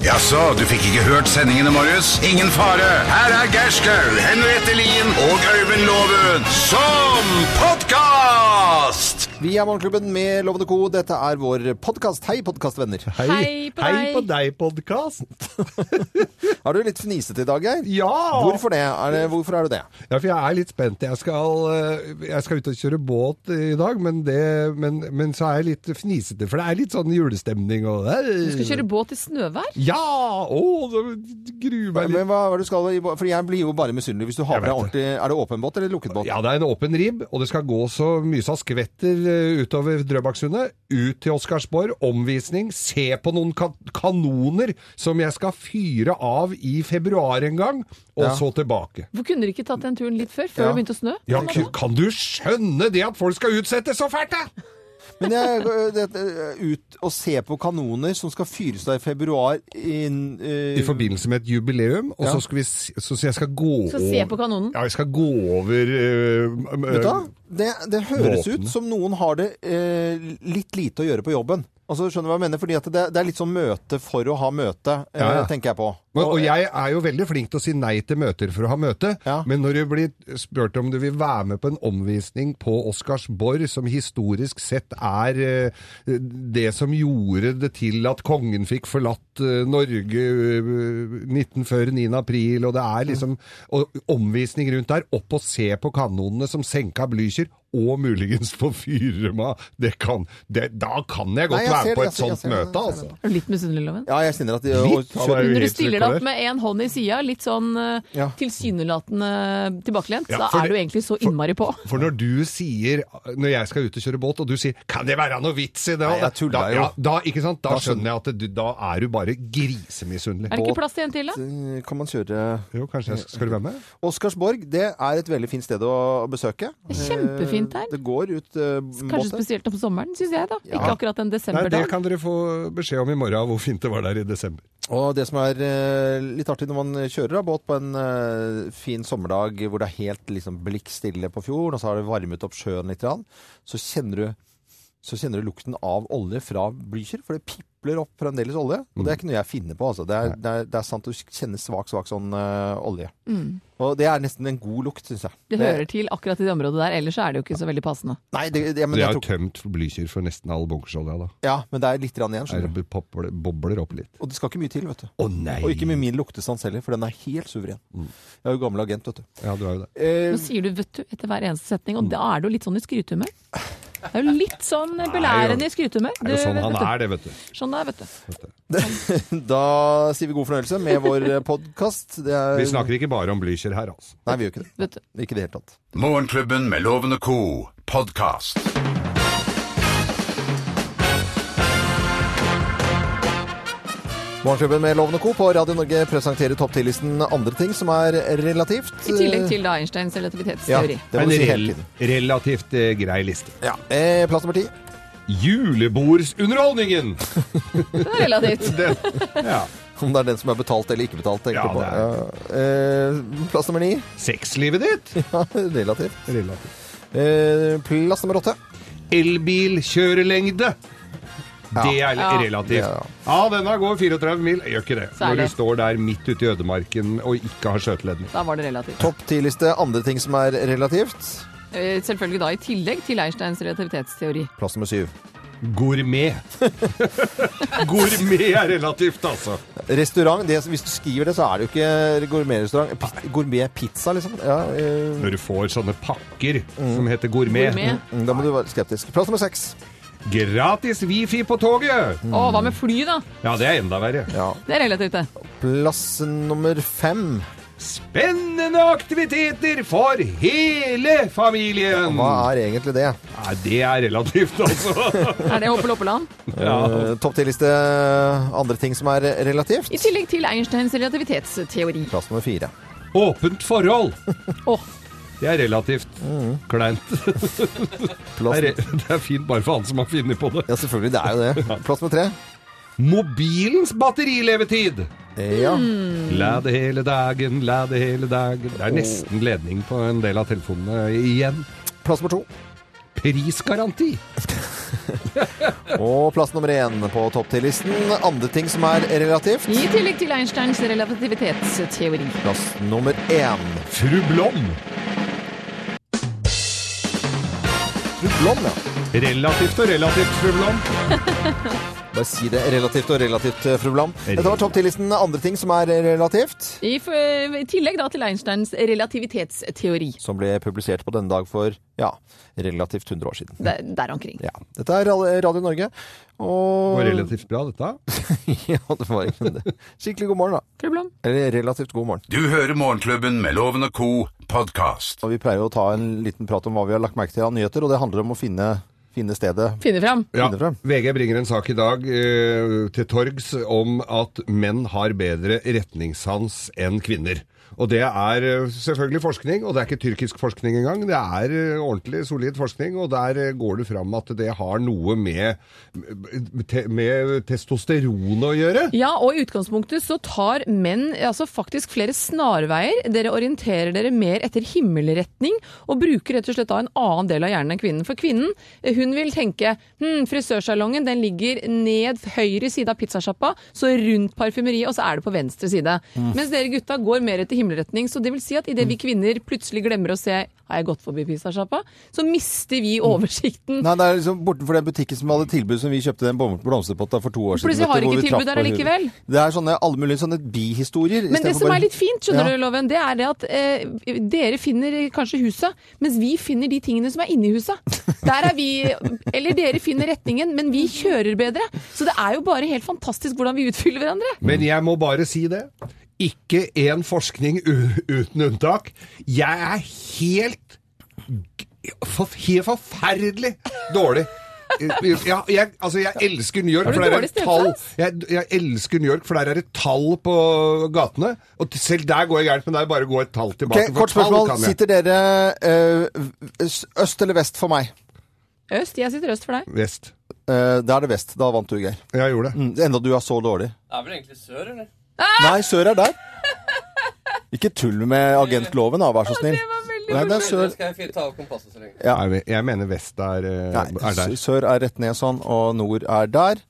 Jaså, du fikk ikke hørt sendingene, Marius? Ingen fare. Her er Gerskaug, Henriette Lien og Øyvind Loven som podkast! Vi er Morgenklubben med Lovende Co. Dette er vår podkast. Hei, podkastvenner. Hei på Hei deg. på deg, podkast. Er du litt fnisete i dag, Geir? Ja! Hvorfor det? Er det? Hvorfor er du det? Ja, for jeg er litt spent. Jeg skal, eh, jeg skal ut og kjøre båt i dag, men, det, men, men så er jeg litt fnisete, for det er litt sånn julestemning og Du skal kjøre båt i snøvær? Ja! Å, det gruer meg litt. Men hva, hva er det du skal i bå- For jeg blir jo bare misunnelig hvis du har Jeg med deg vet ordentlig Er det åpen båt eller lukket båt? Ja, det er en åpen ribb, og det skal gå så mye som skvetter eh, utover Drøbaksundet. Ut til Oscarsborg, omvisning, se på noen ka kanoner som jeg skal fyre av i februar en gang, og Ja. så tilbake. Hvor kunne du ikke tatt den turen litt før, før Ja. det begynte å snø? Ja, k- kan du skjønne det at folk skal utsettes så fælt, da? Men jeg øh, det, øh, ut og se på kanoner som skal fyres av i februar inn, øh, I forbindelse med et jubileum, og Ja. så skal vi s- så, så jeg skal gå Så se over- på kanonen. Ja, jeg skal gå over øh, øh, Vet du hva? Det, det høres Våpen. ut som noen har det eh, litt lite å gjøre på jobben. Altså, skjønner du hva jeg mener? Fordi at det, det er litt sånn møte for å ha møte, eh, Ja, ja. tenker jeg på. Men, og jeg er jo veldig flink til å si nei til møter for å ha møte, Ja. men når du blir spurt om du vil være med på en omvisning på Oscarsborg, som historisk sett er eh, det som gjorde det til at kongen fikk forlatt eh, Norge eh, 19 før 9. april, og det er liksom og, omvisning rundt der, opp og se på kanonene som senka Blücher, og muligens få fyre meg. Det kan, det, da kan jeg godt Nei, jeg ser være på det, et jeg ser- sånt jeg ser det, møte, jeg ser altså. Er du litt misunnelig, Loven? Ja, jeg kjenner at de, Litt, og- han er jo Når du helt stiller ute deg der. opp med én hånd i sida, litt sånn eh, Ja. tilsynelatende tilbakelent, Ja, da for er det- du egentlig så innmari på. For når du sier, når jeg skal ut og kjøre båt, og du sier 'kan det være noe vits i det', Nei, jeg tuller da, jo. ja, da, ikke sant? da Da skjønner- skjønner jeg at du, da er du bare grisemisunnelig. Er det Båt. ikke plass til en til, da? eh, kan man kjøre Jo, kanskje jeg skal, skal du være med? Oscarsborg det er et veldig fint sted å besøke. Det er kjempefint her. Eh, Det går ut eh, Kanskje båter. spesielt om sommeren, syns jeg, da. Ikke Ja. akkurat en Nei, det desemberdag. kan dere få beskjed om i morgen, hvor fint det var der i desember. Og det som er eh, litt artig når man kjører av båt på en eh, fin sommerdag hvor det er helt liksom, blikkstille på fjorden, og så har det varmet opp sjøen litt, grann, så kjenner du så kjenner du lukten av olje fra Blücher, for det pipler opp fremdeles olje. Og det er ikke noe jeg finner på, altså. Det er, det er, det er sant, du kjenner svak, svak sånn eh, olje. Og det er nesten en god lukt, syns jeg. Mm. Det hører til akkurat i det området der, ellers er det jo ikke så veldig passende. Nei, det, det, men, jeg det er jo tror, tømt Blücher for nesten all bunkersolja, da. ja, men det er litt grann igjen, Er skjønner du. det popler, bobler opp litt. Og det skal ikke mye til, vet du. Å nei! Mm. Og ikke med min luktesans heller, for den er helt suveren. Jeg er jo gammel agent, vet du. Ja, du er jo det. Eh, Nå sier du 'vet du' etter hver eneste setning, og da er du litt sånn i skrytehumør. Det er jo litt sånn belærende i skrytehumør. Det er jo sånn han vet du. er, det, vet du. Sånn er, vet du. Da sier vi god fornøyelse med vår eh, podkast. Vi snakker ikke bare om Blücher her, altså. Nei, vi gjør ikke det. vet du. Ikke i det hele tatt. Morgenklubben med Loven og co. podkast. Morgenklubben med Loven og Co. på Radio Norge presenterer topp 10-listen andre ting som er relativt. eh, I tillegg til da Einsteins ja, relativitetsteori. det må En vi si rel hele tiden. relativt eh, grei liste. Ja. Eh, plass nummer ti. Julebordsunderholdningen! Det er relativt. Den, ja. Om det er den som er betalt eller ikke betalt, tenker Ja, jeg på. Ja. det Eh, plass nummer ni. Sexlivet ditt? Ja, relativt. Relativt. Eh, plass nummer åtte. elbilkjørelengde. Det er Ja. relativt. Ja. Ja, denne går 34 mil. Gjør ikke det. Så er Når du det. står der midt ute i ødemarken og ikke har skjøteledning. Da var det relativt. Topp 10-liste andre ting som er relativt. Eh, Selvfølgelig da i tillegg til Einsteins relativitetsteori. Plass nummer syv. Gourmet. Gourmet er relativt, altså. Restaurant. Det, hvis du skriver det, så er det jo ikke gourmetrestaurant. Pi- Gourmetpizza, liksom. Ja, eh, Når du får sånne pakker som heter gourmet. Gourmet. Mm, Da må du være skeptisk. Plass nummer seks. Gratis wifi på toget! Å, hva med fly, da? Ja, det er enda verre. Ja. Det er relativt, det. Plass nummer fem. Spennende aktiviteter for hele familien! Hva er egentlig det? Ja, det er relativt, altså. Er det Hoppe Loppeland? Ja. Eh, Topp ti-liste eh, andre ting som er relativt. I tillegg til Einsteins relativitetsteori. Plass nummer fire. Åpent forhold. Å, Det er relativt kleint. Plass... Det er, det er fint bare for han som har funnet på det. Ja, selvfølgelig. Det er jo det. Plass nummer tre. Mobilens batterilevetid! Eh, Ja. Mm. La det hele dagen, la det hele dagen. Det er nesten ledning på en del av telefonene igjen. Plass nummer to. Prisgaranti! Og plass nummer én på topp 10-listen. Andre ting som er relativt. I tillegg til Einsteins relativitetsteori. Plass nummer én. Fru Blom. Fru Blom, ja. Relativt og relativt, fru Blom. Bare si det relativt og relativt, eh, fru Blom. Dette var topp 10-listen. Andre ting som er eh, relativt. I, f I tillegg da til Einsteins relativitetsteori. Som ble publisert på denne dag for ja, relativt 100 år siden. Der, der omkring. Ja. Dette er Radio Norge. Og Det var relativt bra, dette. ja, det var ikke det. Skikkelig god morgen, da. Fru Blom. Eller relativt god morgen. Du hører Morgenklubben med Loven og Co. podkast. Og vi pleier jo å ta en liten prat om hva vi har lagt merke til av nyheter, og det handler om å finne, finne stedet. Finne fram. Ja, Finne frem. VG bringer en sak i dag eh, til torgs om at menn har bedre retningssans enn kvinner. Og det er eh, selvfølgelig forskning, og det er ikke tyrkisk forskning engang. Det er eh, ordentlig solid forskning, og der eh, går det fram at det har noe med, te- med testosteron å gjøre. Ja, og i utgangspunktet så tar menn altså faktisk flere snarveier. Dere orienterer dere mer etter himmelretning og bruker rett og slett da en annen del av hjernen enn kvinnen. For kvinnen, eh, hun vil tenke hm, frisørsalongen den ligger ned høyre side av pizzasjappa, så rundt parfymeriet, og så er det på venstre side. Mens dere gutta går mer etter himmelretning, så det vil si at idet vi kvinner plutselig glemmer å se har jeg gått forbi pizzasjappa, så mister vi oversikten. Nei, det er liksom bortenfor den butikken som hadde tilbud som vi kjøpte den blom- blomsterpotta for to år siden. Plutselig har vet du, hvor ikke vi tilbud traff på der huet. allikevel. Det er sånne, alle mulige sånne bihistorier. Men det istedenfor som bare- er litt fint, skjønner Ja. du, Loven, det er det at eh, dere finner kanskje huset, mens vi finner de tingene som er inni huset. Der er vi Eller dere finner retningen, men vi kjører bedre. Så det er jo bare helt fantastisk hvordan vi utfyller hverandre. Men jeg må bare si det. Ikke én forskning u uten unntak. Jeg er helt g- for Helt forferdelig dårlig. Jeg, jeg, altså, jeg elsker New York, Har du for der er dårlig et tall stemmesans? jeg, jeg elsker New York, for der er et tall på gatene. Og t- selv der går jeg gærent, men der bare går et tall tilbake. Ok, for kort tall spørsmål. kan jeg. Sitter dere øh, øst- øst eller vest for meg? Øst, jeg sitter øst for deg. Vest. Eh, da er det vest. Da vant du, Geir. Jeg gjorde Mm, det. Enda du er så dårlig. Det er vel egentlig sør, eller? Nei, sør er der. Ikke tull med agentloven, da, vær så snill. Nei, det er Det sør. skal jeg fint ta av kompasset så lenge. Ja. Nei, jeg mener vest er, eh, Nei, er der. sør er rett ned sånn, og nord er der.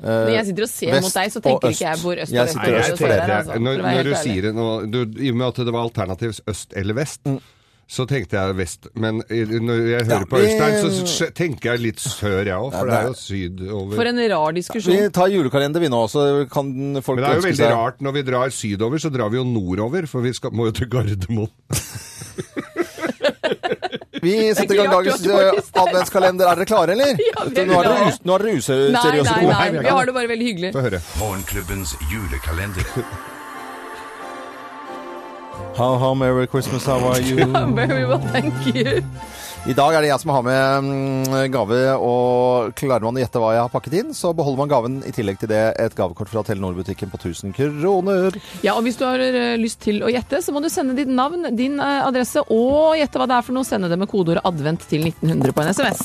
Når jeg sitter og ser vest mot deg, så og tenker ikke øst. jeg hvor øst Jeg og vest sitter Nei, er, øst jeg og for sør dere, er, tenkte, altså, for å når, være helt når du ærlig. sier det nå du, I og med at det var alternativt øst eller vest, så tenkte jeg vest. Men i- når jeg hører Ja, på vi- Øystein, så s- tenker jeg litt sør, jeg òg. For Nei, det er nei. jo sydover. For en rar Vi diskusjon. tar julekalender vi nå, så kan folk men det er jo ønske veldig seg rart. Når vi drar sydover, så drar vi jo nordover, for vi skal, må jo til Gardermoen. Vi setter i ikke gang rart du dagens har dårlig eh, adventskalender. Er dere klare, eller? Ja, vi er nå er dere, klare. us nå er dere Nei, useriøse nei, gode. nei. vi er Vi ikke har det bare veldig hyggelig. Få høre. Morgenklubbens julekalender. How, how, merry Christmas, how are you? Very well, thank you. I dag er det jeg som har med mm, gave, og klarer man å gjette hva jeg har pakket inn, så beholder man gaven. I tillegg til det et gavekort fra Telenor-butikken på 1000 kroner. Ja, og Hvis du har ø, lyst til å gjette, så må du sende ditt navn, din ø, adresse og gjette hva det er for noe. Sende det med kodeordet 'advent' til 1900 på en SMS.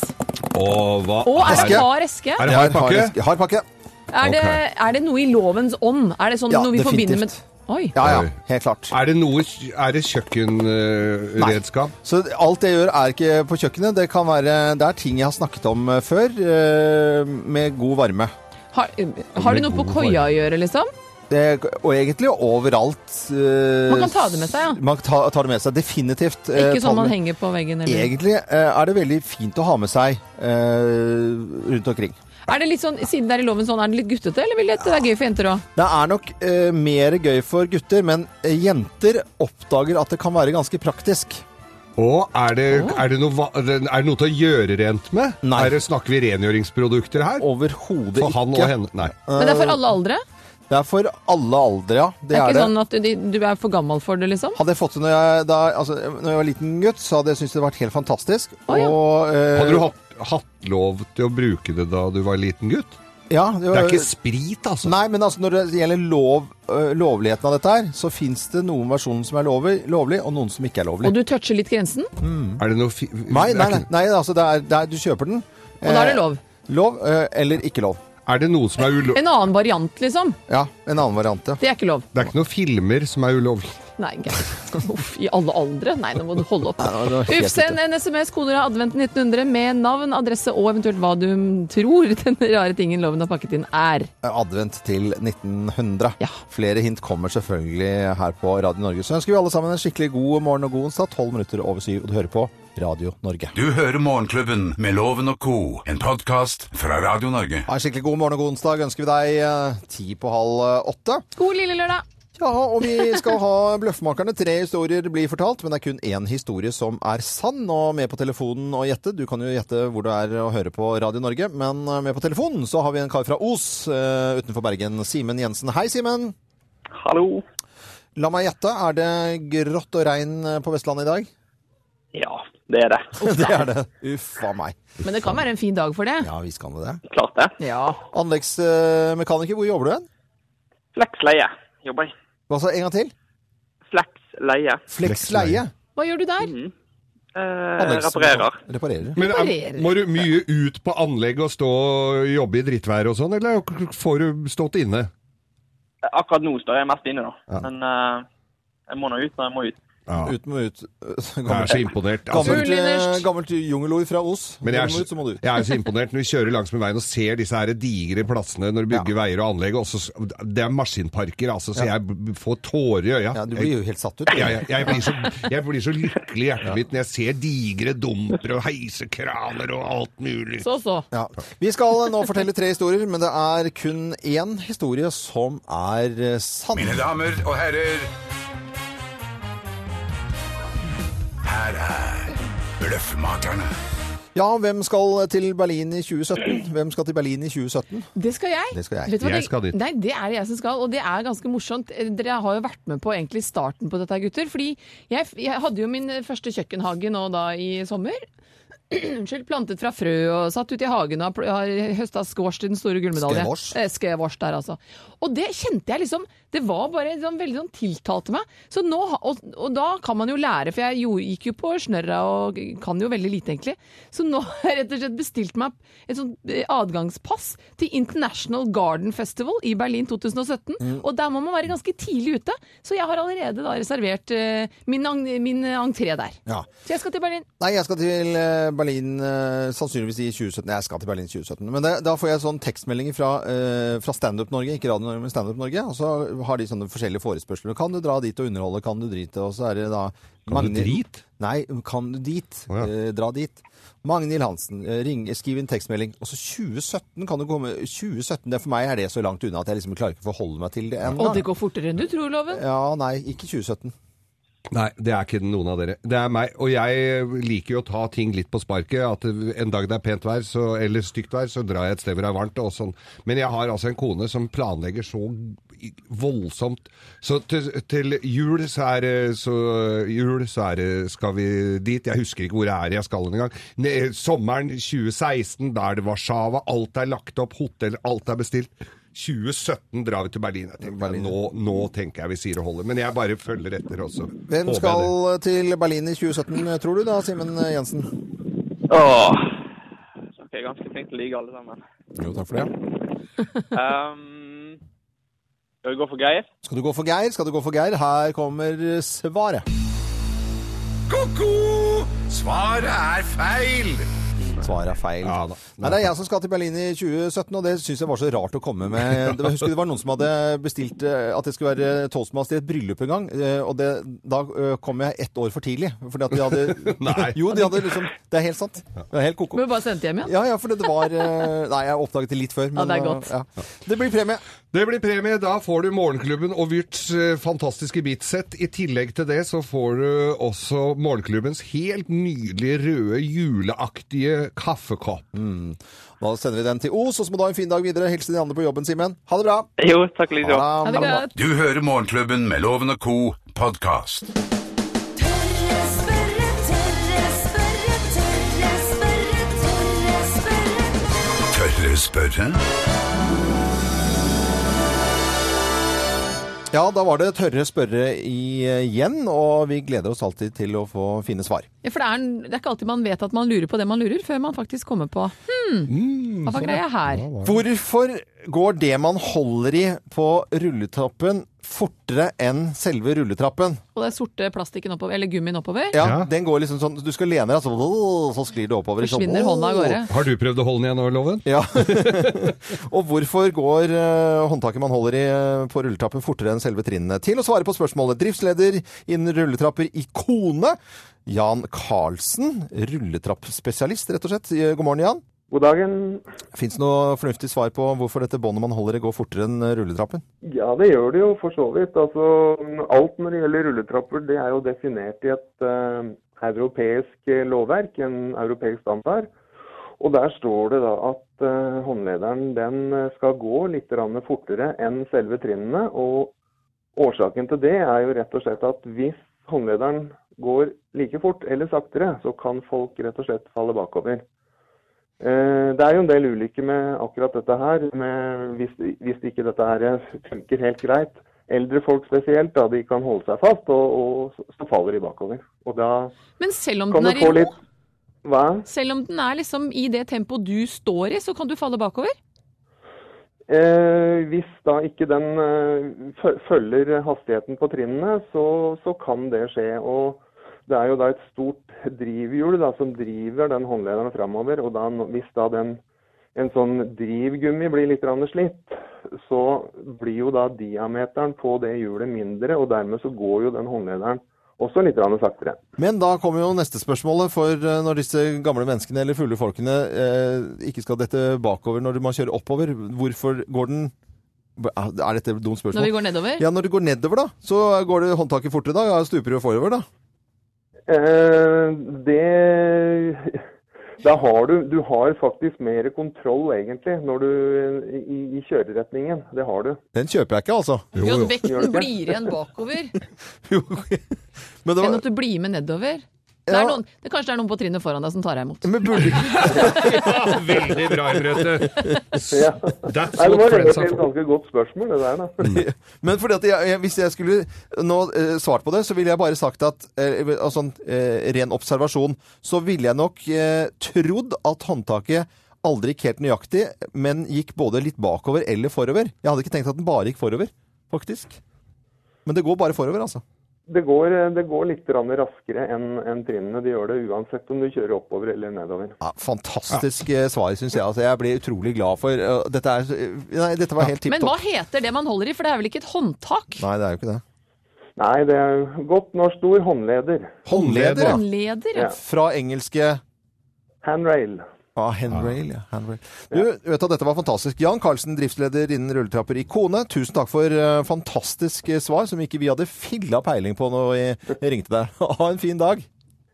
Og hva Og er det Eske. hard eske? Er Er det Jeg har hard pakke? eske- Hard pakke. det, Ok. er det noe i lovens ånd? Er det sånn Ja, noe vi forbinder med definitivt. Oi. Ja, ja. Oi. Helt klart. Er det noe Er det kjøkkenredskap? Så alt jeg gjør er ikke på kjøkkenet. Det kan være Det er ting jeg har snakket om eh, før, eh, med god varme. Har, ø, har det noe på koia å gjøre, liksom? Det, og egentlig overalt. eh, Man kan ta det med seg, ja. Man ta, tar det med seg, definitivt. eh, Ikke ta det sånn man med- henger på veggen? Eller. Egentlig eh, er det veldig fint å ha med seg eh, rundt omkring. Er det litt sånn, Siden det er i lovens ånd, er det litt guttete, eller vil det, det er gøy for jenter òg? Det er nok eh, mer gøy for gutter, men eh, jenter oppdager at det kan være ganske praktisk. Og er det, er, det noe, va- er det noe til å gjøre rent med? Nei. Er det, snakker vi rengjøringsprodukter her? Overhodet ikke. For han og henne? Nei. Men det er for alle aldre? Det er for alle aldre, ja. Eh, Det, Det er er ikke det. sånn at du, du er for gammel for det, liksom? Hadde jeg fått det når jeg, da, altså, når jeg var liten gutt, så hadde jeg syntes det hadde vært helt fantastisk. Å, ja. Og, eh, Hadde du hatt, hatt lov til å bruke det da du var liten gutt? Ja, Det er ikke sprit, altså. Nei, men altså, når det gjelder lov, eh, lovligheten av dette her, så fins det noen versjoner som er lovlig, lovlig, og noen som ikke er lovlig. Og du toucher litt grensen, og Mm. Er det noe fi Nei, det nei, er nei, ikke- nei altså, det er, det er, du kjøper den. da er det lov. Lov eh, eller ikke lov. Er det noe som er ulovlig? En annen variant, liksom. Ja, en annen variant, ja. Det er ikke lov. Det er ikke noen filmer som er ulovlige. Nei, gæren. Uff, i alle aldre? Nei, nå må du holde opp. Nei, det var helt Uff, send ute. en SMS, koder av adventen 1900, med navn, adresse og eventuelt hva du tror den rare tingen loven har pakket inn er. eh, Advent til 1900. Ja. Flere hint kommer selvfølgelig her på Radio Norge. Så ønsker vi alle sammen en skikkelig god morgen og god onsdag. 12 minutter over syv, og du hører på Radio Norge. Du hører Morgenklubben med Loven og co., en podkast fra Radio Norge. Ha en skikkelig god morgen og god onsdag ønsker vi deg eh, ti på halv eh, åtte. God lille lørdag! Ja, og vi skal ha Bløffmakerne. Tre historier blir fortalt, men det er kun én historie som er sann. Og med på telefonen og gjette. Du kan jo gjette hvor du er og høre på Radio Norge, men eh, med på telefonen så har vi en kar fra Os eh, utenfor Bergen. Simen Jensen. Hei, Simen. Hallo. La meg gjette, er det grått og regn eh, på Vestlandet i dag? Ja, det er det. Det er det. Uff a meg. Men det kan være en fin dag for det. Ja, visst kan det det. Klart det. Ja. Anleggsmekaniker, hvor jobber du hen? Fleksleie jobber jeg. Hva sa En gang til? Fleksleie. Flex leie. Hva gjør du der? Eh, Anleggs- reparerer. Reparerer. Men Reparerer. eh, må du mye ut på anlegg og stå og jobbe i drittvær og sånn, eller k- får du stått inne? Akkurat nå står jeg mest inne, da. Men eh, jeg må nå ut når jeg må ut. Ja. Ut må ut. Jeg er så Gammelt, imponert. Altså, gammelt, eh, gammelt jungelord fra Os. men jeg Når er, du må ut, så må du så- ut. jeg er så imponert når vi kjører langsmed veien og ser disse her digre plassene når du bygger veier og anlegg. og så s- det er maskinparker, altså, så jeg b- får tårer i øya. Ja, du blir jo helt satt ut. Jeg, jeg, jeg, blir så, jeg blir så lykkelig i hjertet mitt når jeg ser digre dumper og heisekraner og alt mulig. Så, så. Ja. Vi skal eh, nå fortelle tre historier, men det er kun én historie som er eh, sann. Mine damer og herrer, her er Bløffmakerne. Ja, hvem skal til Berlin i 2017? Hvem skal til Berlin i 2017? Det skal jeg. Det skal jeg. Vet du hva Jeg det- skal dit. Nei, det er det jeg som skal, og det er ganske morsomt. Eh, Dere har jo vært med på egentlig starten på dette, gutter. Fordi jeg, jeg hadde jo min første kjøkkenhage nå da i sommer. Unnskyld, plantet fra frø og satt ute i hagen og har pl- har høsta squash til den store gullmedaljen. Skevors. Eh, Skevors der, altså. Og det kjente jeg liksom Det var bare sånn, veldig sånn tiltalte meg. Så nå, ha- og, og da kan man jo lære, for jeg jo, gikk jo på snørra og kan jo veldig lite, egentlig. Så nå har jeg rett og slett bestilt meg et sånt eh, adgangspass til International Garden Festival i Berlin 2017. Og der må man være ganske tidlig ute, så jeg har allerede da reservert eh, min, ang- min entré der. Ja. Så jeg skal til Berlin. Nei, jeg skal til eh, Berlin eh, sannsynligvis i 2017. Nei, jeg skal til Berlin i 2017. Men det, da får jeg sånn tekstmeldinger fra, eh, fra Standup Norge, ikke Radio Norge, men Standup Norge. Og så har de sånne forskjellige forespørsler. Kan du dra dit og underholde? Kan du drite? Og så er det da Kan du drit? Nei, kan du dit? Å, ja. Eh, dra dit. Magnhild Hansen, eh, ring, skriv en tekstmelding. Og så 2017 kan du komme 2017, det For meg er det så langt unna at jeg liksom klarer ikke å forholde meg til det ennå. Og det går fortere enn du tror, Loven. Ja, nei, ikke 2017. Nei, det er ikke noen av dere. Det er meg. Og jeg liker jo å ta ting litt på sparket. At en dag det er pent vær, så, eller stygt vær, så drar jeg et sted hvor det er varmt. Og sånn. Men jeg har altså en kone som planlegger så voldsomt. Så til, til jul så er det så, jul så er det skal vi dit. Jeg husker ikke hvor det er jeg skal engang. Ne- Sommeren 2016, da er det Warszawa. Alt er lagt opp, hotell, alt er bestilt. 2017 drar vi til Berlin. Jeg tenker, Nå, nå tenker jeg vi sier det holder. Men jeg bare følger etter også. Hvem Håper jeg skal det. til Berlin i 2017, tror du da, Simen eh, Jensen? Åh. Dere er ganske flinke til å lyge, alle sammen. Jo, takk for det. Ehm, skal vi gå for Geir? Skal du gå for Geir? Skal du gå for Geir? Her kommer svaret. Ko-ko! Svaret er feil! Svaret er feil. Ja da. Nei, det er jeg som skal til Berlin i 2017, og det syns jeg var så rart å komme med. Det var, husker det var noen som hadde bestilt eh, at jeg skulle være toastmaster i et bryllup en gang, eh, og det, da eh, kom jeg ett år for tidlig. Fordi at de hadde Nei. Jo, de hadde liksom Det er helt sant. Det er helt Du ko-ko. må bare sende det hjem igjen. Ja, ja, for det var eh, Nei, jeg oppdaget det litt før. Men, det er godt. eh, ja. Det blir premie. Det blir premie. Da får du Morgenklubben og Vyrts eh, fantastiske beatsett. I tillegg til det så får du også Morgenklubbens helt nydelige røde juleaktige kaffekopp. Da sender vi den til Os, og så må du ha en fin dag videre. Hilse de andre på jobben, Simen. Ha det bra. Jo, takk like Ha så. det. Ha det godt. Du hører Morgenklubben med Loven og co. podkast. Tørre spørre, tørre spørre, tørre spørre, tørre spørre. Tørre spørre? Ja, da var det tørre spørre eh, igjen, og vi gleder oss alltid til å få fine svar. Ja, for det er, det er ikke alltid man vet at man lurer på det man lurer, før man faktisk kommer på hmm, hva var greia her? Hvorfor går det man holder i på rulletoppen fortere enn selve rulletrappen. Og det er sorte plastikken oppover, eller gummien oppover. Ja, Ja. Den går liksom sånn Du skal lene deg, sånn, åh, så sklir det oppover. Sånn, Forsvinner hånda åh. av gårde. Har du prøvd å holde den igjen over loven? Ja. og hvorfor går eh, håndtaket man holder i eh, på rulletrappen fortere enn selve trinnene? Til å svare på spørsmålet driftsleder innen rulletrapper i Kone, Jan Karlsen. Rulletrappspesialist, rett og slett. Eh, God morgen, Jan. God dagen. Fins det noe fornuftig svar på hvorfor dette båndet man holder i, går fortere enn eh, rulletrappen? Ja, det gjør det jo for så vidt. Altså, alt når det gjelder rulletrapper, det er jo definert i et eh, europeisk eh, lovverk, en europeisk standard. Og der står det da at eh, håndlederen den eh, skal gå litt grann fortere enn selve trinnene. Og årsaken til det er jo rett og slett at hvis håndlederen går like fort eller saktere, så kan folk rett og slett falle bakover. Eh, Det er jo en del ulykker med akkurat dette her, med hvis, hvis ikke dette her eh, funker helt greit. Eldre folk spesielt, da de kan holde seg fast, og, og så- så faller de bakover. Og da Men selv om kan den du er i få ro, litt Hva? selv om den er liksom i det tempoet du står i, så kan du falle bakover. Eh, hvis da ikke den eh, fø- følger hastigheten på trinnene, så, så kan det skje. Og det er jo da et stort drivhjul da, som driver den håndlederen framover. Og da, n- hvis da den, en sånn drivgummi blir litt grann slitt, så blir jo da diameteren på det hjulet mindre, og dermed så går jo den håndlederen også litt grann saktere. Men da kommer jo neste spørsmålet, for eh, når disse gamle menneskene eller fulle folkene eh, ikke skal dette bakover når man kjører oppover, hvorfor går den Er dette et dumt spørsmål? Når vi går nedover. Ja, når du går nedover da, så går det håndtaket fortere da, ja, stuper jo forover da. Eh, det Da har du Du har faktisk mer kontroll, egentlig, når du i, i kjøreretningen. Det har du. Den kjøper jeg ikke, altså. Jo, jo. Jo, Gjør det vekten ikke? blir igjen bakover Jo. Men, det enn var, at du blir med nedover. Det Ja. er noen, det kanskje det er noen på trinnet foran deg som tar deg imot. men burde ikke Veldig bra, Henriette. Ja. That's Nei, det what var friends egentlig are for. et ganske godt spørsmål, det der, da. Men fordi at jeg, jeg, hvis jeg skulle nå eh, svart på det, så ville jeg bare sagt at eh, av sånn eh, ren observasjon, så ville jeg nok eh, trodd at håndtaket aldri gikk helt nøyaktig, men gikk både litt bakover eller forover. Jeg hadde ikke tenkt at den bare gikk forover, faktisk. Men det går bare forover, altså. Det går, det går litt grann raskere enn enn trinnene. De gjør det uansett om du kjører oppover eller nedover. Ja, fantastisk eh, svar, syns jeg. Altså, jeg blir utrolig glad for eh, Dette, er, så- nei, dette var helt tipp Men hva topp. heter det man holder i, for det er vel ikke et håndtak? Nei, det er jo ikke det. Nei, det er godt norsk ord håndleder. Håndleder, ja. Håndleder, ja. Ja. Fra engelske Handrail. Ah, handrail, ja. Handrail. Du, vet du, at dette var fantastisk. Jan Karlsen, driftsleder innen rulletrapper i Kone. Tusen takk for eh, fantastisk eh, svar, som ikke vi hadde filla peiling på når vi ringte deg. Ha en fin dag.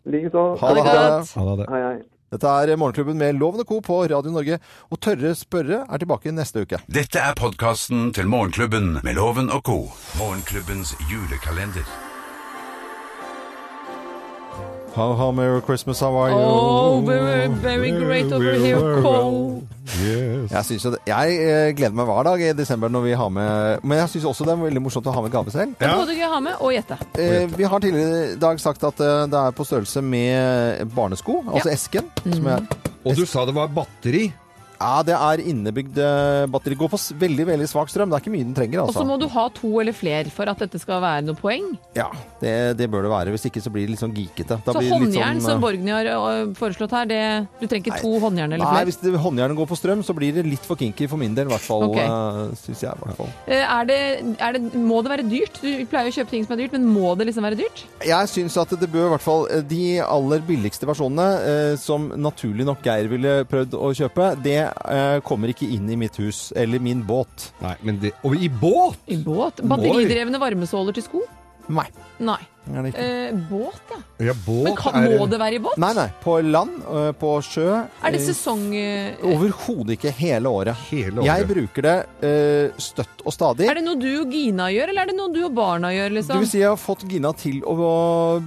Likeså. Ha det. godt. Ja, da, det. Hei, hei. Dette er Morgenklubben med Loven og Co. på Radio Norge. Og Tørre spørre er tilbake neste uke. Dette er podkasten til Morgenklubben med Loven og co. Morgenklubbens julekalender. How, how merry Christmas, how are you? Oh, very, very great over here, Cole. Yes. Jeg, synes jo det, jeg eh, gleder meg hver dag i desember når vi har med Men jeg syns også det er veldig morsomt å ha med gave selv. Det må du ikke ha med, og gjette. Eh, vi har tidligere i dag sagt at eh, det er på størrelse med barnesko, altså esken. Mm. Som er, Og du sa det var batteri. ja, det er innebygd eh, batteri. Går på s- veldig veldig svak strøm. Det er ikke mye den trenger, Og så altså. må du ha to eller flere for at dette skal være noe poeng. Ja, det, det bør det være. Hvis ikke så blir det litt sånn geekete. Da Så blir det litt håndjern, eh, som Borgny har ø, foreslått her, det, du trenger ikke to håndjern eller Nei, flere. hvis det- håndjernet går på strøm, så blir det litt for kinky for min del, i hvert fall. Ok. eh, synes jeg, i hvert fall. Eh, Er det, er det, må det være dyrt? Du pleier å kjøpe ting som er dyrt, men må det liksom være dyrt? Jeg syns at det bør i hvert fall eh, de aller billigste versjonene, eh, som naturlig nok Geir ville prøvd å kjøpe, det eh, kommer ikke inn i mitt hus eller min båt. Nei, men det Og i båt! I båt? Batteridrevne varmesåler til sko? Nei. Nei. Er det ikke? Eh, båt, ja. Ja, båt Men kan, er må det være i båt? Nei, nei. På land, øh, på sjø. Er det øh, sesong... eh, ø, Overhodet ikke hele året. Hele året. Jeg bruker det øh, støtt og stadig. Er det noe du og Gina gjør, eller er det noe du og barna gjør, Det liksom? vil si jeg har fått Gina til å å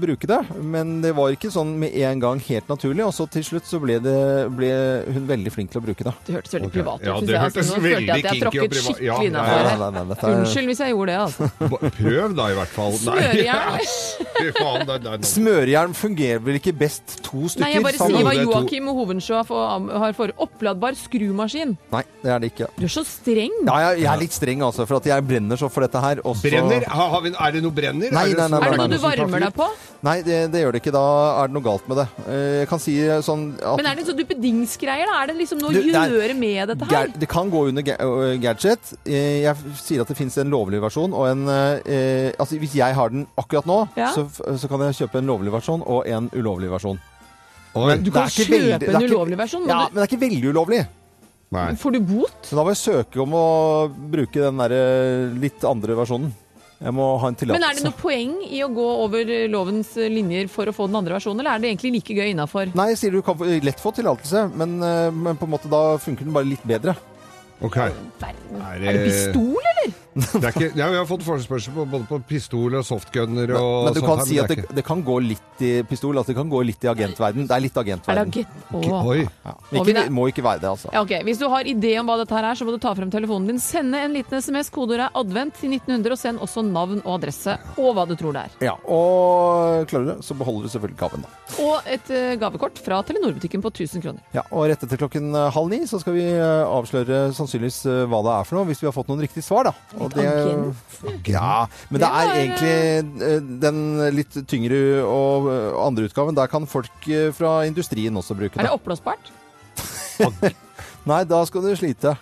bruke det, men det var ikke sånn med en gang helt naturlig. Og så til slutt så ble, det, ble hun veldig flink til å bruke det. Det hørtes veldig Ok. privat ut. Ja, synes det jeg, altså. hørtes Nå følte jeg veldig at jeg kinky og tråkket privat- Ja, skikkelig Nei, nei, innafor nei, her. nei, dette er- Unnskyld hvis jeg gjorde det, altså. Ba- Prøv da, i hvert fall. Nei. Smørjern. Fy faen, det, det er noe. Smørjern fungerer vel ikke best to stykker Nei, jeg bare sammen? sier hva Det er to- Joakim Hovensjå for- har for oppladbar skrumaskin. Nei, det er det ikke. Du er så streng! Ja, jeg, jeg er litt streng, altså, for at jeg brenner så for dette her. og så- Brenner? Har, har vi, er det noe brenner? Nei, Er nei, det nei, sånn- Er det nei, noe du som tar varmer fyr? deg på? Nei, det, det gjør det ikke. Da er det noe galt med det. Eh, Jeg kan si sånn at Men er det sånn duppedingsgreier, da? Er det liksom noe Du, å det er- gjøre med dette Ga- her? Det kan gå under ga- øh, gadget. Eh, Jeg f- sier at det finnes en lovlig versjon og en eh, eh, Altså, hvis jeg har den akkurat nå, Ja. så, f- så kan jeg kjøpe en lovlig versjon og en ulovlig versjon. Oi. Men Du det kan er ikke veldig- kjøpe det er en ikke- ulovlig versjon. Ja, men men det er ikke veldig ulovlig. Nei. du- Får du bot? Så da må jeg søke om å bruke den derre litt andre versjonen. Jeg må ha en Men er det tillatelse. noe poeng i å gå over eh, lovens eh, linjer for å få den andre versjonen, eller er det egentlig like gøy innafor? Nei, jeg sier du kan få- eh, lett få tillatelse, men, eh, men på en måte da funker den bare litt bedre. Ok. Er Er det- det pistol, eller? Det er ikke, ja, vi har fått forespørsel på, både på pistol og softgunner og Men, men du sånt kan her, si at det er det, det kan gå litt i pistol, altså det kan gå litt i agentverden. Det er litt Er det agentverden. agent... ikke- Åh. Oi. Ja. Og vi Ikke, da- må ikke være det, altså. Ja, ok. Hvis du har idé om hva dette her er, så må du ta frem telefonen din. Sende en liten SMS, kodeordet er 'advent' til 1900, og send også navn og adresse, og hva du tror det er. Ja, og klarer du det, så beholder du selvfølgelig gaven da. Og et eh, gavekort fra Telenor-butikken på 1000 kroner. Ja, og rett etter klokken eh, halv ni så skal vi eh, avsløre sannsynligvis eh, hva det er for noe, hvis vi har fått noen riktige svar da. Og agent. ja, men det Det er var- egentlig eh, den litt tyngre og eh, andre utgaven, der kan folk eh, fra industrien også bruke Er det det. oppblåsbart? Nei, da skal du slite.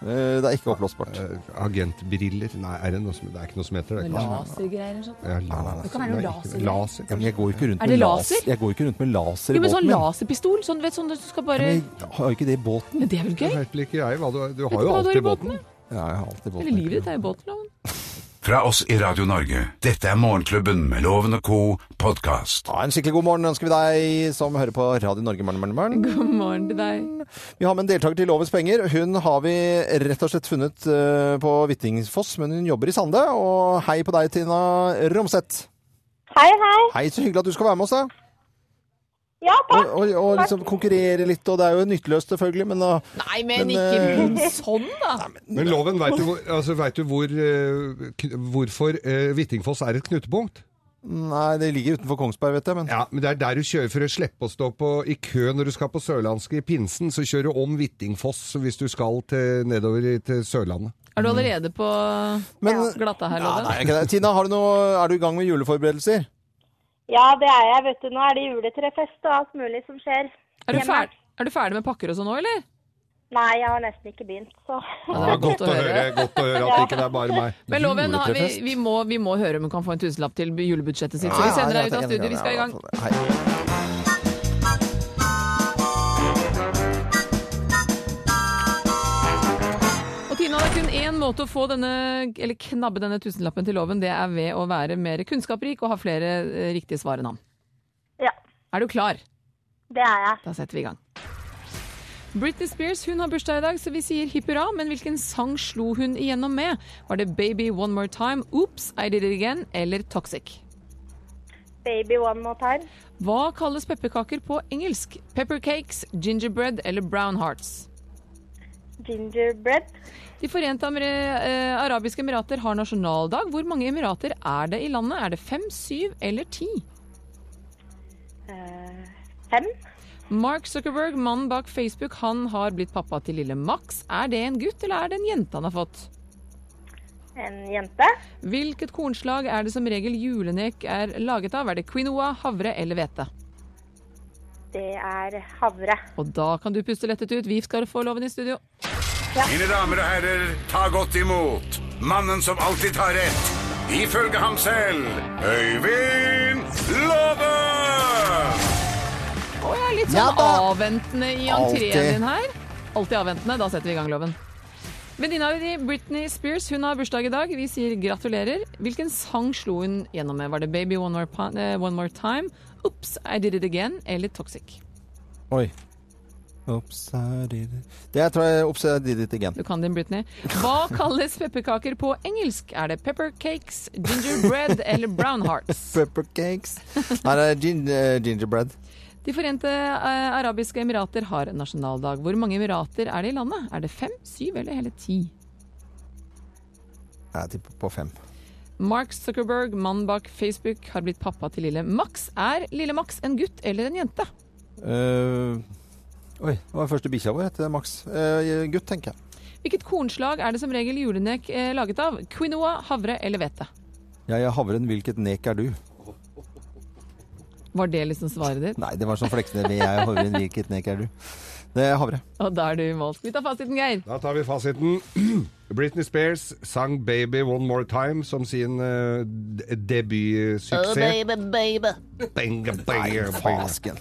Eh, Det er ikke oppblåsbart. Eh, Agentbriller Nei, er det noe som Det er ikke noe som heter det. ikke sant? Lasergreier eller sånt? Ja, Det kan være Nei, noe ikke- laser. laser. Ja, men jeg går jo ikke rundt Er med det laser. laser? Jeg går jo ikke rundt med laser i Jo, men sånn båten. min. laserpistol, sånn, vet, sånn at du skal Ja, bare men jeg har jo ikke det i båten. Men det er vel Det gøy? vet vel ikke jeg hva du, du Vet har du jo hva du alt har i i båten. båten? Ja, jeg har alltid båten. Hele livet ditt er jo båtloven. Fra oss i Radio Norge. Dette er Morgenklubben med Loven og co. podkast. Ja, en skikkelig god morgen ønsker vi deg som hører på Radio Norge. Morgen, morgen, morgen. God morgen til deg. Vi har med en deltaker til Lovens penger. Hun har vi rett og slett funnet eh, på Hvittingfoss, men hun jobber i Sande. Og hei på deg, Tina Romseth. Hei, hei. Hei, så hyggelig at du skal være med oss. da. Ja, Og, takk. og, og liksom konkurrere litt, og det er jo nytteløst selvfølgelig, men da Nei, Men, men, ikke begynn sånn, da! Men loven, veit du, hvor, altså, vet du hvor, eh, kn- hvorfor eh, Hvittingfoss er et knutepunkt? Nei, det ligger utenfor Kongsberg, vet jeg, men Ja, men Det er der du kjører for å slippe å stå på, i kø når du skal på Sørlandske i pinsen. Så kjører du om Hvittingfoss hvis du skal til, nedover i- til Sørlandet. Er du allerede på glatta her, ja, nei, Loven? ikke det. Tina, har du noe, er du i gang med juleforberedelser? Ja, det er jeg, vet du. Nå er det juletrefest og alt mulig som skjer. Er, du hjemme. fer- er du ferdig med pakker og sånn nå, eller? Nei, jeg har nesten ikke begynt, så. Ja, det er godt å høre. godt å høre at det ikke er bare meg. Men Loven, har vi, Juletrefest? vi, må, vi må høre om hun kan få en tusenlapp til julebudsjettet sitt. Så vi sender deg ut av studio. Vi skal i gang. Hei. Og Tina, det er kun én måte å få denne, eller knabbe denne tusenlappen til loven. Det er ved å være mer kunnskapsrik og ha flere eh, riktige svar enn han. Ja, Er du klar? det er jeg. Da setter vi i gang. Britney Spears hun har bursdag i dag, så vi sier hipp hurra. Men hvilken sang slo hun igjennom med? Var det Baby One More Time, Oops, I Did It Again eller Toxic? Baby one more time. Hva kalles pepperkaker på engelsk? Pepper cakes, gingerbread eller brown hearts? Gingerbread. De forente Ameri- eh, arabiske emirater har nasjonaldag. Hvor mange emirater er det i landet? Er det fem, syv eller ti? Eh, fem. Mark Zuckerberg, mannen bak Facebook, han har blitt pappa til lille Max. Er det en gutt, eller er det en jente han har fått? En jente. Hvilket kornslag er det som regel julenek er laget av? Er det quinoa, havre eller hvete? Det er havre. Og da kan du puste lettet ut. Vi skal få loven i studio. Mine damer og herrer, ta godt imot mannen som alltid tar rett. Ifølge ham selv Øyvind Låve! Å, jeg er litt Ja sånn da. avventende i entreen Altid. din her. Alltid avventende. Da setter vi i gang loven. Venninna di Britney Spears hun har bursdag i dag. Vi sier gratulerer. Hvilken sang slo hun gjennom med? Var det 'Baby One More, Pon- eh, one more Time', 'Ops, I Did It Again' eller 'Toxic'? Oi. Oops, I did it. Det tror jeg Oops, I did it again. Du kan din, Britney. Hva kalles pepperkaker på engelsk? Er det pepper cakes, gingerbread eller brown hearts? Pepper cakes. Nei, det er gin, eh, gingerbread. De forente eh, arabiske emirater har en nasjonaldag. Hvor mange emirater er det i landet? Er det fem, syv eller hele ti? Jeg tipper på fem. Mark Zuckerberg, mannen bak Facebook, har blitt pappa til lille Max. Er lille Max en gutt eller en jente? Eh, oi, det var første bikkja vår, heter Max. Eh, gutt, tenker jeg. Hvilket kornslag er det som regel julenek eh, laget av? Quinoa, havre eller hvete? Jeg er havren, hvilket nek er du? Var det liksom svaret ditt? Nei, det var sånn fleksende. Jeg er havren, hvilket nek er du? Det er havre. Og da er du målt. Vi tar fasiten, Geir. Da tar vi fasiten. Britney Spears sang 'Baby One More Time' som sin eh, d- debutsuksess. Baby, baby. Fasken.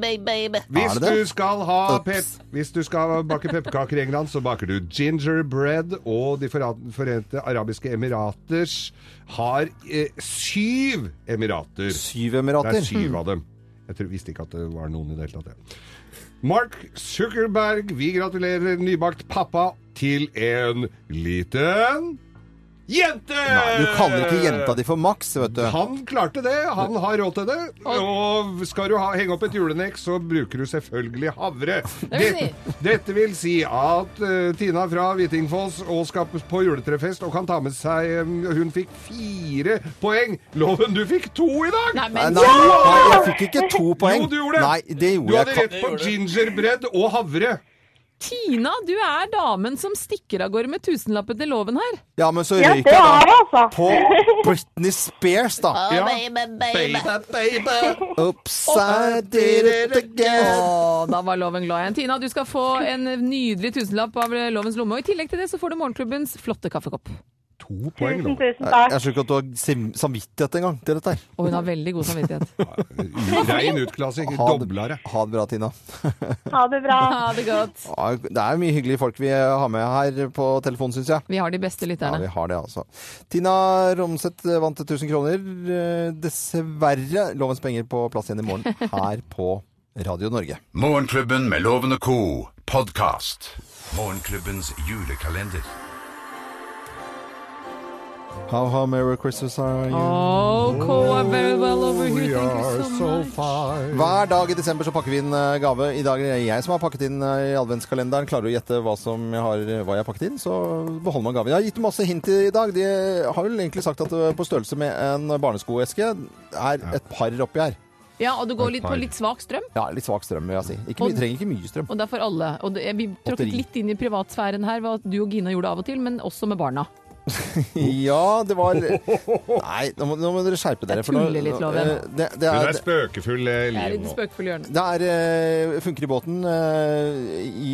Hvis Er det det? du skal ha Ups. pep Hvis du skal bake pepperkaker i England, så baker du gingerbread. Og De Forenta- forente arabiske emiraters har eh, syv emirater. Syv Det emirater. er syv av dem. Jeg tror, visste ikke at det var noen i det hele tatt. jeg. Mark Zuckerberg, vi gratulerer nybakt pappa til en liten jente! Nei, du kaller ikke jenta di for Max, vet du. Han klarte det, han har råd til det. Og skal du ha, henge opp et julenek, så bruker du selvfølgelig havre. vil Det- dette vil si at eh, Tina fra Hvitingfoss og skal på juletrefest og kan ta med seg eh, Hun fikk fire poeng. Loven, du fikk to i dag! Nei, Nei, men nei, nei, jeg fikk ikke to poeng. Jo, du gjorde det. Nei, det Du gjorde hadde jeg rett på gingerbread og havre. Tina, du er damen som stikker av gårde med tusenlappen til loven her. ikke. Ja, men så Ja, røyk det jeg er det, da altså. på Britney Spears, da. Ja. Baby, baby. Oops, I did it again. Å, da var loven glad igjen. Tina, du skal få en nydelig tusenlapp av eh, lovens lomme. Og i tillegg til det så får du morgenklubbens flotte kaffekopp. To poeng, Tusen, da. tusen Jeg takk. skjønner ikke at du har sim- samvittighet engang til dette her. Og hun har veldig god samvittighet. Rein utklassing. Ha det- Doblere. Ha det bra, Tina. Ha det bra. Ha det godt. Ja, Det er mye hyggelige folk vi har med her på telefonen, syns jeg. Vi har de Ja, beste vi lytterne. har det, altså. Tina Romseth vant 1000 kroner. Eh, Dessverre Lovens penger på plass igjen i morgen her på Radio Norge. Morgenklubben med Loven og Co. Podcast. Morgenklubbens julekalender. How, how merry Christmas are you? Oh, Koa, very well over here. Thank you so much. Hver dag i desember så pakker vi inn eh, gave. I dag er det jeg som har pakket inn eh, i adventskalenderen. Klarer du å gjette hva, som jeg har, hva jeg har pakket inn, så beholder man gaven. Jeg har gitt masse hint i dag. De har vel egentlig sagt at det er på størrelse med en barneskoeske er et par oppi her. Ja, og du går litt på litt svak strøm, Ja, litt svak strøm, vil jeg si. Ikke mye, trenger ikke mye strøm. og det er for alle. Og det, vi tråkket Batteri. litt inn i privatsfæren her, hva du og Gina gjorde av og til, men også med barna. Ja, det var Nei, nå må, nå må dere skjerpe dere. Jeg for nå- tuller litt, nå- Loven. eh, Det, det Hun er, er spøkefull, eh, Jeg er i Liv. det nå. spøkefulle hjørnet. det er eh, Funker i båten eh, i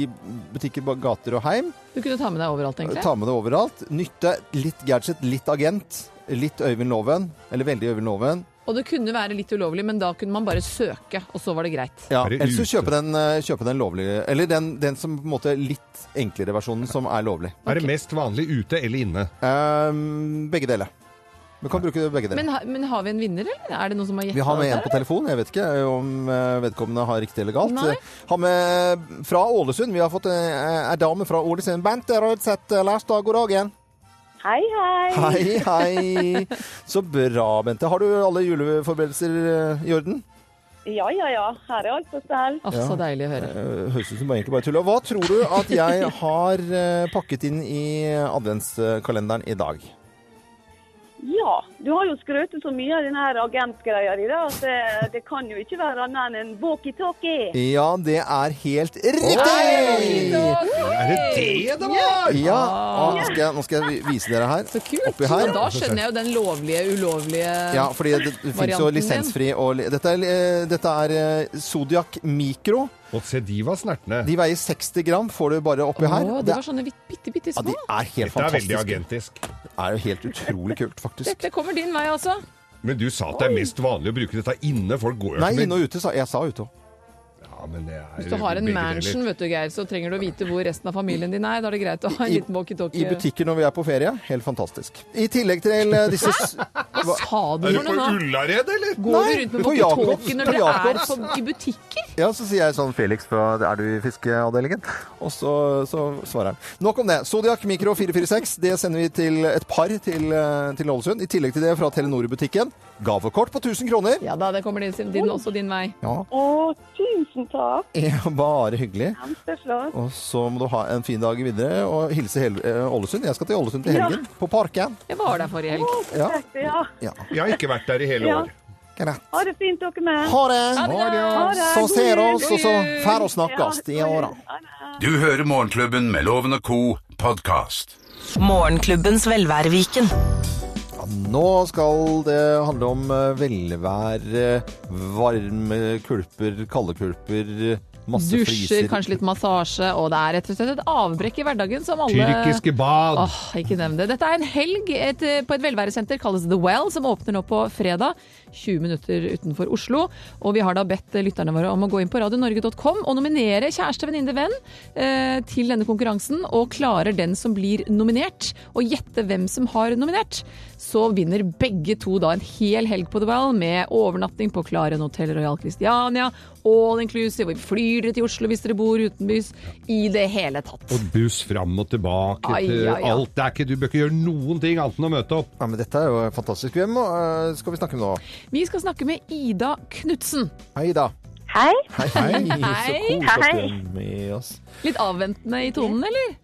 butikker, bak gater og heim. Du kunne ta med deg overalt, egentlig. Ta med det overalt. Nytte litt gadget, litt agent. Litt Øyvind Loven. Eller veldig Øyvind Loven. Og det kunne være litt ulovlig, men da kunne man bare søke, og så var det greit. Ja, Er det Eller så ute? kjøpe den, eh, kjøpe den lovlige Eller den, den som på en måte litt enklere versjonen som er lovlig. Er det mest vanlig ute eller inne? Ehm, begge deler. Du kan bruke begge deler. Men, ha- men har vi en vinner, eller? Er det noen som Vi har gjetta har med en på telefon. Jeg vet ikke om eh, vedkommende har riktig eller galt. Nei. Har med eh, fra Ålesund. Vi har fått eh, ei dame fra Ålesund. Bente Rødseth Lærstad, god dag igjen. Hei, hei. Hei, hei. Så bra, Bente. Har du alle juleforberedelser eh, i orden? Ja, ja, ja. Her er alt på stell. Å, Ja. så deilig å høre. Eh, Høres ut som bare egentlig bare tull. Og Hva tror du at jeg har eh, pakket inn i adventskalenderen i dag? Ja, du har jo skrøt så mye av denne her agentgreia di, da, at det, det kan jo ikke være annet enn en walkietalkie. Ja, det er helt Hei! riktig! Er det det det var? Ja, og nå skal jeg, nå skal jeg vise dere her. Så kult! Oppi her. Og da skjønner jeg jo den lovlige, ulovlige Ja, fordi det, det finnes jo Varianten din. lisensfri og li- Dette er, eh, dette er eh, Zodiac Micro. Og se, de var snertne. De veier 60 gram, får du bare oppi her. Å, det var sånne vitt- bitte, bitte ja, små. de er helt Dette er veldig fantastiske. agentisk. Det er jo helt utrolig kult, faktisk. Dette kommer din vei altså. også. Men du sa at det er mest vanlig å bruke dette inne. Folk går jo Nei, ikke inne og ute, sa jeg. sa ute òg. Ja, men det er Hvis du har en begge mansion, deler. vet du, Geir, så trenger du å vite hvor resten av familien din er. Da er det greit å ha en I- liten I walkietalkie. butikker når vi er på ferie. Helt fantastisk. I tillegg til eh, disse s- Hva sa du Er du for på noe nå? Ullared, eller? Går Nei, du rundt med på Jacobs, walkietalkie når på dere er Jacobs. på, i butikker? Ja, så sier jeg sånn Felix, fra, er du i fiskeavdelingen? Og så, så svarer han. Nok om det. Zodiac Micro 446, det sender vi til et par til, eh, til Ålesund. I tillegg til det fra Telenor-butikken. Gavekort på 1000 kroner. Ja da, det kommer din, din, også din vei. Ja. Å, tusen Tusen takk. Ja, bare hyggelig. Kjempeflott. Og så må du ha en fin dag videre, og hilse hele eh, Ålesund. Jeg skal til Ålesund til helgen, på Parken. Jeg var der forrige helg. Ja. Perfekt, Ja. Ja, Jeg har ikke vært der i hele Ja. år. greit. Ha det fint, dere med. Ha det! Har det, ja. Ha det. Så ser God jul. oss, og så får vi snakkes i åra. Ha det. Du hører Morgenklubben med Loven og Co. podkast. Morgenklubbens velværeviken. Ja, nå skal det handle om eh, velvære, varme kulper, kalde kulper, masse Dusjer, fryser. kanskje litt massasje, og det er rett og slett et avbrekk i hverdagen som alle Tyrkiske bad. Åh, ikke nevn det. Dette er en helg et, eh, på et velværesenter kalles The Well, som åpner nå på fredag. 20 minutter utenfor Oslo. Og vi har da bedt eh, lytterne våre om å gå inn på radionorge.com og nominere kjæreste, venninne, venn eh, til denne konkurransen. Og klarer den som blir nominert, å gjette hvem som har nominert, så vinner begge to da en hel helg på The Well med overnatting på Klaren Hotel Royal Christiania, all inclusive, og vi flyr dere til Oslo hvis dere bor utenbys. I det hele tatt. Og buss fram og tilbake. Ai, til ai, ai. Alt. Det er ikke, du bør ikke gjøre noen ting annet enn å møte opp. Ja, men dette er jo fantastisk. Hvem eh, skal vi snakke med nå? Vi skal snakke med Ida Knutsen. Hei da. Hei. Hei, hei. Så Hei. koselig at du Hei. er med oss. Litt avventende i tonen, eller?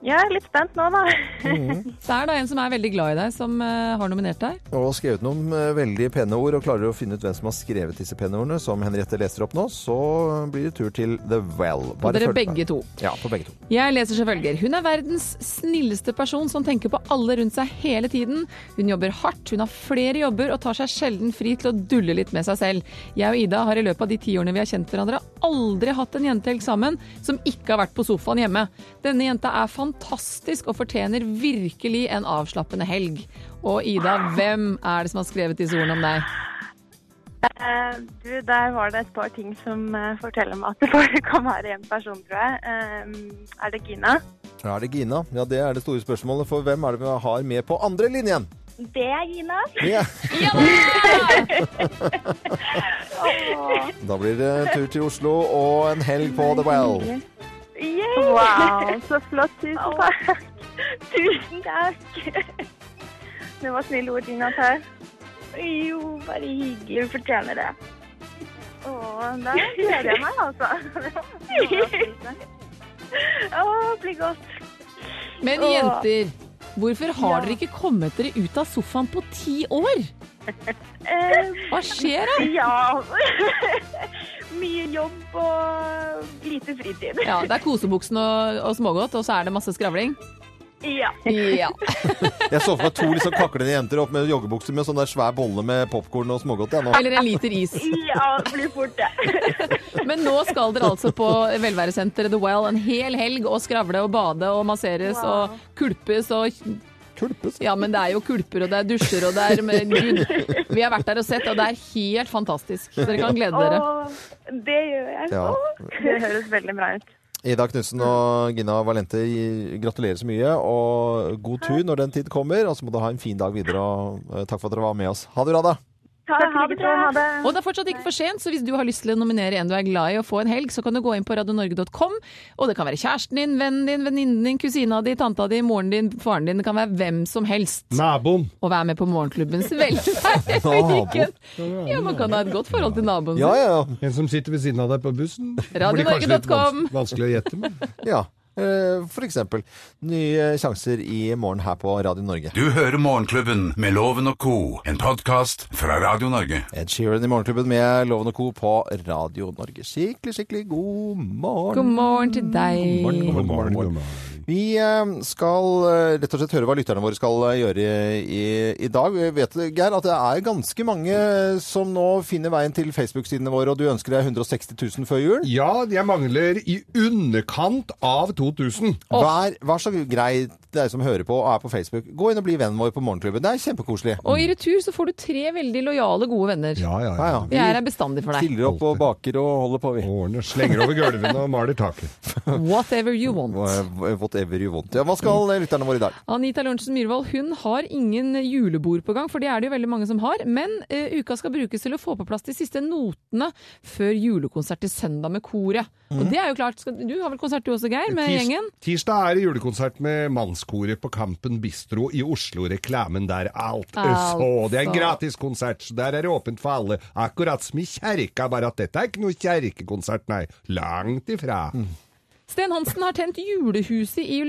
Jeg er litt spent nå, da. Det er da en som er veldig glad i deg, som eh, har nominert deg. Og skrevet noen eh, veldig pene ord, og klarer du å finne ut hvem som har skrevet disse pene ordene, som Henriette leser opp nå, så blir det tur til The Well. Og følg dere med. begge to. Ja, for begge to. Jeg leser som følger. Hun er verdens snilleste person som tenker på alle rundt seg hele tiden. Hun jobber hardt, hun har flere jobber og tar seg sjelden fri til å dulle litt med seg selv. Jeg og Ida har i løpet av de ti årene vi har kjent hverandre, aldri hatt en jentehelg sammen som ikke har vært på sofaen hjemme. Denne jenta er fantastisk og fortjener virkelig en avslappende helg. Og Ida, hvem er det som har skrevet disse ordene om deg? Eh, Du, der var det et par ting som eh, forteller meg at det bare kan være én person, tror jeg. Eh, Er det Gina? Ja, Er det Gina? Ja, det er det store spørsmålet, for hvem er det vi har med på andre linjen? Det er Gina. Det er Ja da! Da blir det en tur til Oslo og en helg på The Well. Wow, så flott. Tusen takk. Tusen takk. Det var snille ord, Gina. Takk. Jo, bare hyggelig. Du fortjener det. Å, da gleder jeg meg, altså. Å, bli godt. Men Åh. jenter, hvorfor har Ja. dere ikke kommet dere ut av sofaen på ti år? Eh, Hva skjer da? Ja. Mye jobb og lite fritid. Ja, det er kosebuksen og, og smågodt, og så er det masse skravling. Ja. Ja. Jeg så for meg to liksom kaklende jenter opp med joggebukser med sånn der svær bolle med popkorn og smågodt. Ja, nå. Eller en liter is. Ja, det blir fort det. Men nå skal dere altså på velværesenteret The Well en hel helg og skravle og bade og masseres Wow. og kulpes og Kulpes. Ja, men det er jo kulper og det er dusjer og det er men Gud, vi har vært der og sett, og det er helt fantastisk. Så dere kan glede dere. Å, det gjør jeg. Ja. Det høres veldig bra ut. Ida Knutsen og Gina Valente, gratulerer så mye, og god tur når den tid kommer. Og så må du ha en fin dag videre, og eh, takk for at dere var med oss. Ha det bra, da. Takk, ha det bra. Ha det. Og det er fortsatt ikke for sent, så hvis du har lyst til å nominere en du er glad i og få en helg, så kan du gå inn på radionorge.com, og det kan være kjæresten din, vennen din, venninnen din, kusina di, tanta di, moren din, faren din, det kan være hvem som helst. Naboen. Og vær med på morgenklubbens velværeviken. Ja, man kan ha et godt forhold til naboen Ja, sin. ja, En som sitter ved siden av deg på bussen. Radio Blir kanskje litt Norge.com. vans- Vanskelig å gjette, men ja. ja. eh, For eksempel. Nye sjanser i morgen her på Radio Norge. Du hører Morgenklubben med Loven og Co., en podkast fra Radio Norge. Ed Sheeran i Morgenklubben med Loven og Co. på Radio Norge. Skikkelig, skikkelig god morgen. God morgen til God morgen, deg. god morgen, god morgen. Vi eh, skal eh, rett og slett høre hva lytterne våre skal eh, gjøre i, i dag. Vi vet, Geir, at det er ganske mange som nå finner veien til Facebook-sidene våre, og du ønsker deg 160 000 før jul. Ja, jeg mangler i underkant av 2000. Vær, vær så grei, deg som hører på og er på Facebook. Gå inn og bli vennen vår på Morgenklubben. Det er kjempekoselig. Og i retur så får du tre veldig lojale, gode venner. Ja, ja, Ja, ja. Vi er her bestandig for deg. Stiller opp og baker og holder på, vi. Årene slenger over gulvene og maler taket. Whatever you want. Wha- Whatever you want. Ja, hva skal eh, lytterne våre i dag? Anita Lorentzen Myhrvold hun har ingen julebord på gang, for det er det jo veldig mange som har. Men eh, uka skal brukes til å få på plass de siste notene før julekonsert til søndag Mm. med koret. Og det er jo klart. Skal, du har vel konsert du også, Geir, med Tirs- gjengen? Tirsdag er det julekonsert med Landskoret på Kampen Bistro i Oslo. Reklamen der alt er så. Altså. Det er en gratiskonsert, så der er det åpent for alle. Akkurat som i kjerka, bare at dette er ikke noe kjerkekonsert, nei. Langt ifra. Sten Hansen har tent julehuset i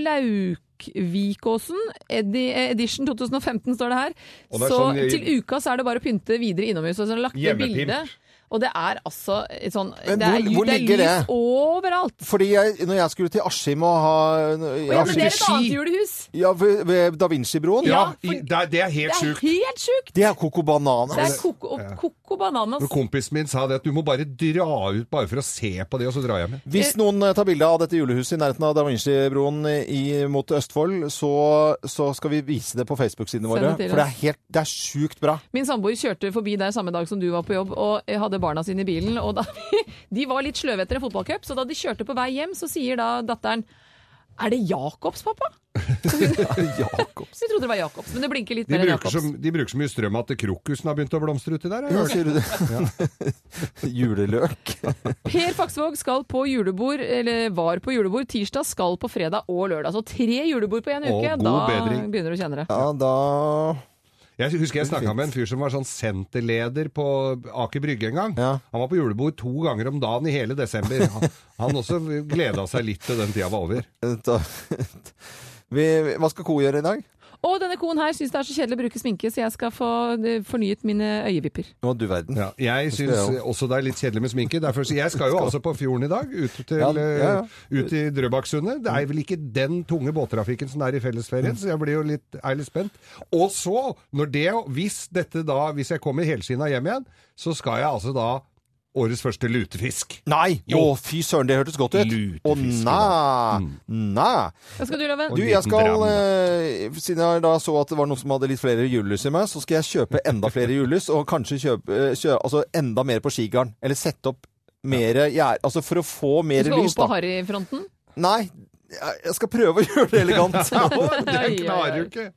Laukvikåsen. Edi- eh, Edition 2015 står det her. Og det er så sånn- til uka så er det bare å pynte videre innomhus. Og så har jeg lagt ned Hjemmepynt. bilde. Og det er altså et sånn Men det er, hvor- hvor det er ligger lys det? overalt. Fordi jeg, når jeg skulle til Askim og ha eh, Og ja, men det er et annet julehus. Ja, ved, ved Da Vinci-broen? Ja, Ja, i- det, er Det er helt sjukt! Det er Coco Bananas. Det er koko, koko bananas. Men Kompisen min sa det at du må bare dra ut bare for å se på det, og så drar jeg med. Hvis noen eh, tar bilde av dette julehuset i nærheten av Da Vinci-broen i- mot Østfold, så, så skal vi vise det på Facebook-sidene våre. Send det til For det er, oss. helt, det er sjukt bra. Min samboer kjørte forbi der samme dag som du var på jobb, og hadde barna sine i bilen. Og da vi, de var litt sløve etter en fotballcup, så da de kjørte på vei hjem, så sier da datteren Er det Jacobs, pappa? Jacobs. Vi trodde det var Jacobs, men det blinker litt De mer enn bruker, Jacobs. så, de bruker så mye strøm at krokusen har begynt å blomstre uti der. har jeg Ja, hørt. sier du det? Juleløk. Per Faksvåg skal på julebord, eller var på julebord tirsdag, skal på fredag og lørdag. Så tre julebord på Å, én uke. god Da bedring. begynner du å kjenne det. Ja, da Jeg husker jeg snakka med en fyr som var sånn senterleder på Aker Brygge en gang. Han var på julebord to ganger om dagen i hele desember. Han, han også gleda seg litt til den tida var over. Vi, hva skal Co gjøre i dag? Og denne koen her syns det er så kjedelig å bruke sminke, så jeg skal få eh, fornyet mine øyevipper. Å, du verden. Ja, skal jeg jeg syns også. også det er litt kjedelig med sminke. Derfor, så jeg skal jo altså på fjorden i dag, ut, til, Ja, ja, ja. eh, ut i Drøbaksundet. Det er vel ikke den tunge båttrafikken som er i fellesferien, så jeg blir jo litt, er litt spent. Og så, når det, hvis, dette da, hvis jeg kommer helskinna hjem igjen, så skal jeg altså da årets første lutefisk. Nei! Jo. Å, fy søren, det hørtes godt ut. Å, nei! Nei! Hva skal du, Loven? Du, jeg skal, eh, siden jeg da så at det var noen som hadde litt flere julelys i meg, så skal jeg kjøpe enda flere julelys, og kanskje kjøpe eh, kjø, altså enda mer på skigarden. Eller sette opp mer gjær... Altså for å få Du mer skal lys, over på da. harryfronten? Nei, jeg jeg skal prøve å gjøre det elegant. Ja, det klarer du ikke.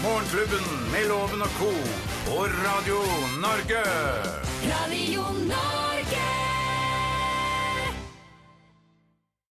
Morgenklubben med Loven og co. på Radio Norge. Radio Norge.